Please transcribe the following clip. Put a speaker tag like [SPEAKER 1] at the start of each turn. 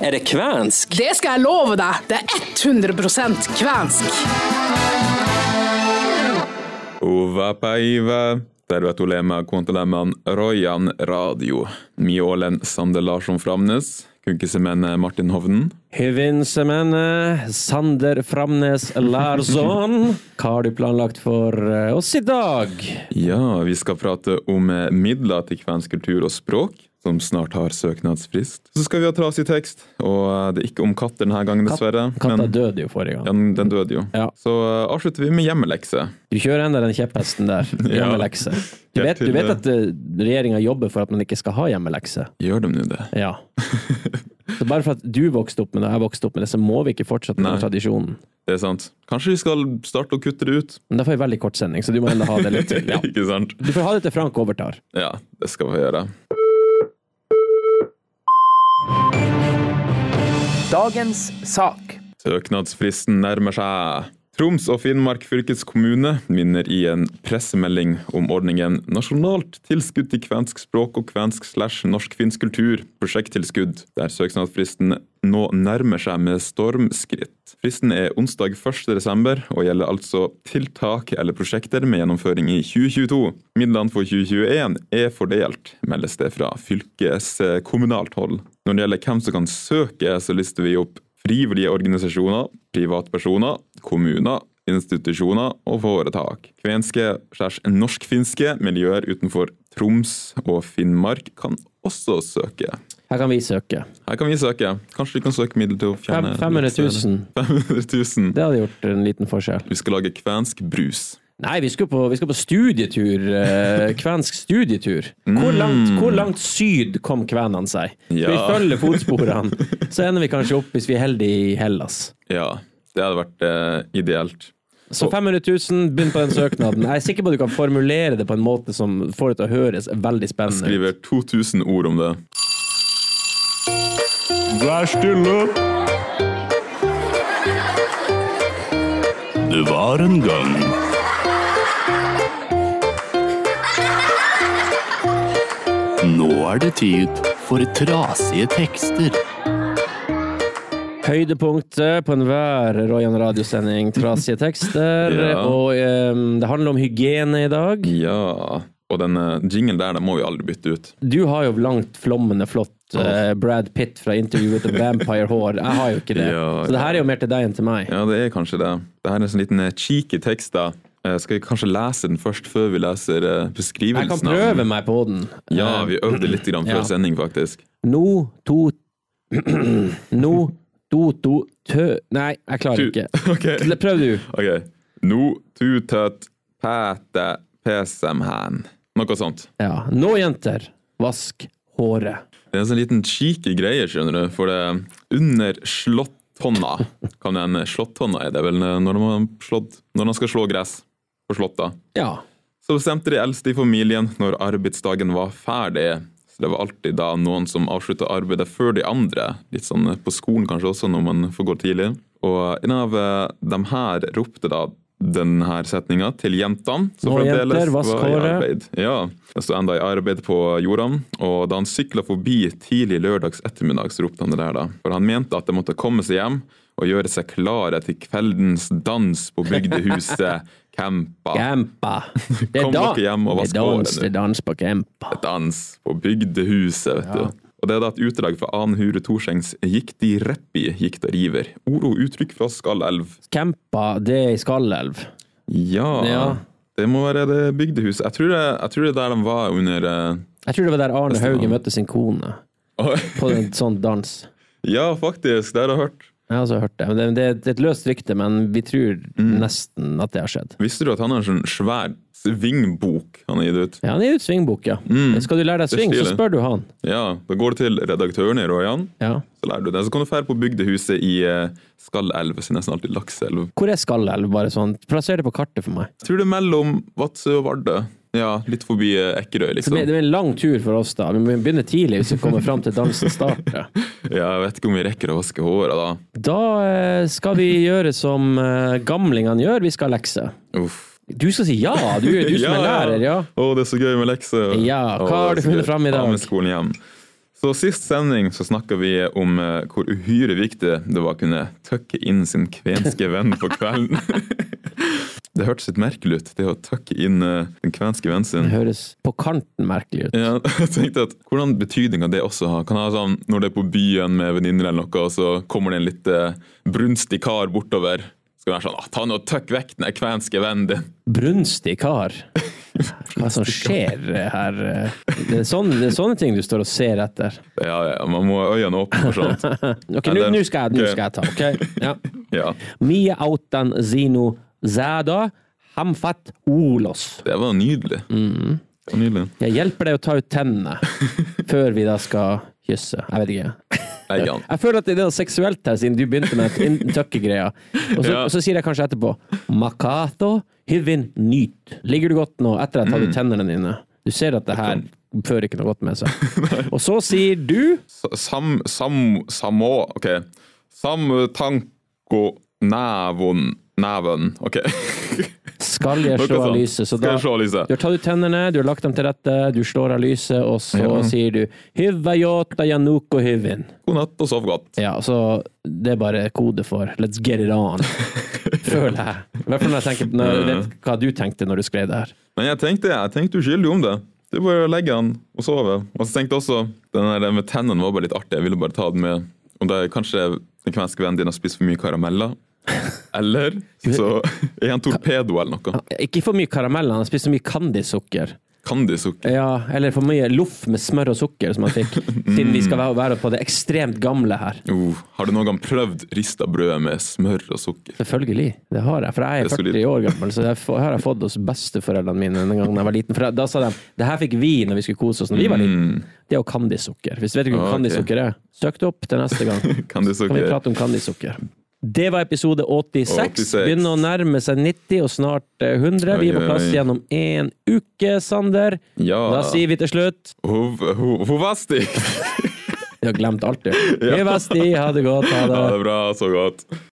[SPEAKER 1] Er det kvensk?
[SPEAKER 2] Det skal jeg love deg. Det er 100 kvensk.
[SPEAKER 3] Ovapäivä. Tervetulema kuuntelemaan Rojan radio. Mie olen Sander Larsson Framnes, kunkisemene Martin Hovden.
[SPEAKER 4] Hyvinsemene, Sander Framnes Larsson. Hva har du planlagt for eh, oss i dag?
[SPEAKER 3] Ja, vi skal prate om eh, midler til kvensk kultur og språk, som snart har søknadsfrist. Så skal vi ha trasig tekst, og eh, det er ikke om katter denne gangen, dessverre.
[SPEAKER 4] Katta
[SPEAKER 3] men-
[SPEAKER 4] døde jo forrige
[SPEAKER 3] Ja,
[SPEAKER 4] gang.
[SPEAKER 3] den den døde jo.
[SPEAKER 4] Ja.
[SPEAKER 3] Så eh, avslutter vi med hjemmelekse.
[SPEAKER 4] Du kjører enda den kjepphesten der.
[SPEAKER 3] Ja.
[SPEAKER 4] Hjemmelekse. Du
[SPEAKER 3] Helt
[SPEAKER 4] vet, du vet
[SPEAKER 3] tydelig.
[SPEAKER 4] at regjeringa jobber for at man ikke skal ha hjemmelekse?
[SPEAKER 3] Gjør de nå det?
[SPEAKER 4] Ja. Så bare for at du vokste opp med det, og jeg vokste opp med det, så må vi ikke fortsette med
[SPEAKER 3] Nei.
[SPEAKER 4] den tradisjonen.
[SPEAKER 3] Det er sant. Kanskje vi skal starte å kutte det ut?
[SPEAKER 4] Men da får vi veldig kort sending, så du må enda ha det litt til. Ja.
[SPEAKER 3] ikke sant?
[SPEAKER 4] Du får ha det til Frank overtar.
[SPEAKER 3] Ja, det skal vi gjøre.
[SPEAKER 5] Dagens sak.
[SPEAKER 3] Søknadsfristen nærmer seg. Troms og Finnmark fylkeskommune minner i en pressemelding om ordningen Nasjonalt tilskudd til kvensk språk og kvensk slash norsk-finsk kultur, prosjekttilskudd, der søknadsfristen nå nærmer seg med stormskritt. Fristen er onsdag 1. desember og gjelder altså tiltak eller prosjekter med gjennomføring i 2022. Midlene for 2021 er fordelt, meldes det fra fylkeskommunalt hold. Når det gjelder hvem som kan søke, så lister vi opp frivillige organisasjoner, privatpersoner, kommuner, institusjoner og foretak. Kvenske slash norskfinske miljøer utenfor Troms og Finnmark kan også søke.
[SPEAKER 4] Her kan vi søke.
[SPEAKER 3] Her kan vi søke. Kanskje vi kan søke midler til å
[SPEAKER 4] Fem-
[SPEAKER 3] fjerne
[SPEAKER 4] 500 000.
[SPEAKER 3] 500 000.
[SPEAKER 4] Det hadde gjort en liten forskjell.
[SPEAKER 3] Vi skal lage kvensk brus.
[SPEAKER 4] Nei, vi skal på, vi skal på studietur. Eh, kvensk studietur. Hvor langt, hvor langt syd kom kvenene seg?
[SPEAKER 3] Mm. Ja.
[SPEAKER 4] Vi følger fotsporene, så ender vi kanskje opp, hvis vi er heldige, i Hellas.
[SPEAKER 3] Ja, det hadde vært eh, ideelt.
[SPEAKER 4] Så 500 000, begynn på den søknaden. Jeg er sikker på at du kan formulere det på en måte som får det til å høres veldig spennende ut.
[SPEAKER 3] Skriver 2000 ord om det.
[SPEAKER 6] Vær stille! Det var en gang Nå er det tid for trasige tekster.
[SPEAKER 4] Høydepunktet på enhver Royan radiosending, trasige tekster.
[SPEAKER 3] Ja.
[SPEAKER 4] Og eh, det handler om hygiene i dag.
[SPEAKER 3] Ja. Og den eh, jinglen der, den må vi aldri bytte ut.
[SPEAKER 4] Du har jo langt flommende flott eh, Brad Pitt fra intervjuet til Vampire Hår. Jeg har jo ikke det.
[SPEAKER 3] Ja,
[SPEAKER 4] så det her er jo mer til deg enn til meg.
[SPEAKER 3] Ja, det er kanskje det. Det her er en sånn liten eh, cheeky tekst, da. Eh, Skal vi kanskje lese den først, før vi leser eh,
[SPEAKER 4] Jeg kan
[SPEAKER 3] beskrivelsen? av den?
[SPEAKER 4] prøve meg på den.
[SPEAKER 3] Ja,
[SPEAKER 4] Eh,
[SPEAKER 3] vi øvde litt grann før
[SPEAKER 4] Ja.
[SPEAKER 3] sending, faktisk.
[SPEAKER 4] No, to No, do, do, tø Nei, jeg klarer ikke.
[SPEAKER 3] ok.
[SPEAKER 4] Prøv du.
[SPEAKER 3] ok. No tutøt pæte pesemhen. Noe sånt.
[SPEAKER 4] Ja. Nå, jenter, vask håret.
[SPEAKER 3] Det er en sånn liten cheeky greie, skjønner du, for det er under slåtthånda. Kan en slåtthånda er det vel eh, når man, har slått, når man skal slå gress på slåtta?
[SPEAKER 4] Ja.
[SPEAKER 3] Så bestemte de eldste i familien når arbeidsdagen var ferdig. Så det var alltid da noen som avslutta arbeidet før de andre. Litt sånn på skolen kanskje også, når man får gå tidlig. Og en av eh, dem her ropte da denne setninga til jentene. som
[SPEAKER 4] Nå,
[SPEAKER 3] fremdeles
[SPEAKER 4] jenter, vask
[SPEAKER 3] var i
[SPEAKER 4] håret.
[SPEAKER 3] arbeid. Ja, De sto enda i arbeid på jordene. Og da han sykla forbi tidlig lørdags ettermiddag, så ropte han det der, da. For han mente at de måtte komme seg hjem og gjøre seg klare til kveldens dans på bygdehuset Kempa.
[SPEAKER 4] Gampa. Det
[SPEAKER 3] Kom
[SPEAKER 4] dan-
[SPEAKER 3] dere hjem og vask
[SPEAKER 4] det er dans-
[SPEAKER 3] håret nå.
[SPEAKER 4] Det er dans på Gampa.
[SPEAKER 3] dans på bygdehuset, vet du. Og det er da et utdrag fra Ann Hure Torsengs Gikk de reppi, gikk da river. Ord og uttrykk fra Skallelv.
[SPEAKER 4] Kempa, det er i Skallelv.
[SPEAKER 3] Ja,
[SPEAKER 4] Ja.
[SPEAKER 3] det må være det bygdehuset. Jeg tror det, jeg tror det er der de var under eh,
[SPEAKER 4] Jeg tror det var der Arne
[SPEAKER 3] Neste gang.
[SPEAKER 4] Hauge møtte sin kone. På en sånn dans.
[SPEAKER 3] Ja, faktisk, det har jeg hørt.
[SPEAKER 4] Jeg har også hørt det. Men det, det, det er et løst rykte, men vi tror nesten at det har skjedd.
[SPEAKER 3] Visste du at han har en sånn svær svingbok han har gitt ut?
[SPEAKER 4] Ja, han er ut svingbok, ja. Skal du lære deg
[SPEAKER 3] Det er
[SPEAKER 4] sving, så
[SPEAKER 3] stilig.
[SPEAKER 4] spør du han.
[SPEAKER 3] Ja, da går du til redaktøren i Rojan,
[SPEAKER 4] Ja.
[SPEAKER 3] så lærer du det. Så kan du dra på bygdehuset i eh, Skallelv, siden nesten alltid Lakselv.
[SPEAKER 4] Hvor er Skallelv, bare sånn? Plasser det på kartet for meg.
[SPEAKER 3] Jeg tror det er mellom Vadsø og Vardø. Ja, litt forbi eh, Ekkerøy,
[SPEAKER 4] Så
[SPEAKER 3] liksom.
[SPEAKER 4] det det blir en lang tur for oss, da. Vi må begynne tidlig hvis vi kommer fram til dansen starter.
[SPEAKER 3] Ja, jeg vet ikke om vi rekker å vaske håret da.
[SPEAKER 4] Da eh, skal vi gjøre som eh, gamlingene gjør, vi skal ha lekser.
[SPEAKER 3] Uff.
[SPEAKER 4] Du skal si ja, du, du som er lærer, ja.
[SPEAKER 3] Å, det er så gøy med lekser.
[SPEAKER 4] Ja, hva
[SPEAKER 3] Å, det er
[SPEAKER 4] har du
[SPEAKER 3] så
[SPEAKER 4] funnet
[SPEAKER 3] gøy.
[SPEAKER 4] fram i dag?
[SPEAKER 3] Ja, med skolen hjem. Så sist sending så snakka vi om eh, hvor uhyre viktig det var å kunne tøkke inn sin kvenske venn på kvelden. det hørtes litt merkelig ut, det å tøkke inn eh, den kvenske vennen sin.
[SPEAKER 4] Det høres på kanten merkelig ut.
[SPEAKER 3] Ja, jeg tenkte at Hvordan betydning av det også har? Kan det være sånn, Når du er på byen med venninner, eller noe, og så kommer det en litt eh, brunstig kar bortover. Skal være sånn «Ah, 'Ta nå og tøkk vekk den der kvenske vennen din'.
[SPEAKER 4] Brunstig kar. Hva som skjer her? Det er, sånne, det er sånne ting du står og ser etter.
[SPEAKER 3] Ja, ja, Man må ha øynene åpne for sånt.
[SPEAKER 4] Ok,
[SPEAKER 3] Ja,
[SPEAKER 4] nå
[SPEAKER 3] det-
[SPEAKER 4] nå skal, jeg- nå
[SPEAKER 3] ok.
[SPEAKER 4] skal jeg ta. ok? Ja.
[SPEAKER 3] Ja,
[SPEAKER 4] Mia autan zino zæda hamfat olos.
[SPEAKER 3] Det var nydelig.
[SPEAKER 4] Mm.
[SPEAKER 3] Det var nydelig.
[SPEAKER 4] Jeg hjelper deg å ta ut tennene før vi da skal kysse. Jeg vet ikke.
[SPEAKER 3] Nei, ja.
[SPEAKER 4] Jeg føler at det er noe seksuelt her, siden du begynte med den tøkkegreia. Og så,
[SPEAKER 3] Ja.
[SPEAKER 4] så sier jeg kanskje etterpå Makato hyvin nyt. Ligger du godt nå etter at jeg har tatt
[SPEAKER 3] Mm.
[SPEAKER 4] ut tennene dine? Du ser at det her fører ikke noe godt med seg. Og så sier du
[SPEAKER 3] S- Sam... Sam... Samå... Ok. Samtanko nævon... Næven. Ok.
[SPEAKER 4] skal jeg
[SPEAKER 3] Noe
[SPEAKER 4] slå av
[SPEAKER 3] sånt.
[SPEAKER 4] lyset, så
[SPEAKER 3] Skal
[SPEAKER 4] da
[SPEAKER 3] jeg slå av lyset?
[SPEAKER 4] Du har tatt ut tennene, du har lagt dem til rette, du slår av lyset, og så sier du Hyvajota januko hyvin.
[SPEAKER 3] God natt og sov godt.
[SPEAKER 4] Ja, så det er bare kode for let's get it on. Føler jeg. I hvert fall når jeg tenker når jeg vet hva du tenkte når du skrev det her.
[SPEAKER 3] Men jeg tenkte, jeg tenkte uskyldig om det. Det er bare å legge han og sove. Og så tenkte jeg også, den der med tennene var bare litt artig. Jeg ville bare ta den med. Og det er kanskje den kvenske vennen din har spist for mye karameller. Eller så er han torpedo eller noe.
[SPEAKER 4] Ikke for mye karamell, han spiste så mye candysukker.
[SPEAKER 3] Candysukker.
[SPEAKER 4] Ja, eller for mye loff med smør og sukker som han fikk. Siden vi skal være- være på det ekstremt gamle her.
[SPEAKER 3] Oh, har du noen gang prøvd rista brød med smør og sukker?
[SPEAKER 4] Selvfølgelig, det har jeg. For jeg
[SPEAKER 3] Det er
[SPEAKER 4] er
[SPEAKER 3] solid.
[SPEAKER 4] 40 år gammel, så det har jeg fått hos besteforeldrene mine den gangen jeg var liten. For da sa de det her fikk vi når vi skulle kose oss når vi var liten. Det er jo candysukker. Hvis du vet ikke
[SPEAKER 3] Mm.
[SPEAKER 4] hva
[SPEAKER 3] Ah, ok.
[SPEAKER 4] candysukker er, søk det opp til neste gang. Kan vi
[SPEAKER 3] Candysukker.
[SPEAKER 4] prate om candysukker? Det var episode 86.
[SPEAKER 3] 86.
[SPEAKER 4] Begynner å nærme seg 90 og snart eh, 100. Vi
[SPEAKER 3] Oi,
[SPEAKER 4] er
[SPEAKER 3] oi,
[SPEAKER 4] på plass
[SPEAKER 3] oi.
[SPEAKER 4] gjennom én uke, Sander.
[SPEAKER 3] Ja.
[SPEAKER 4] Da sier vi til slutt
[SPEAKER 3] Hov- hov- Hovasti!
[SPEAKER 4] Vi har glemt alt, du. Vi er best i. Ha det godt. Ha
[SPEAKER 3] Ha
[SPEAKER 4] det.
[SPEAKER 3] det bra, så godt.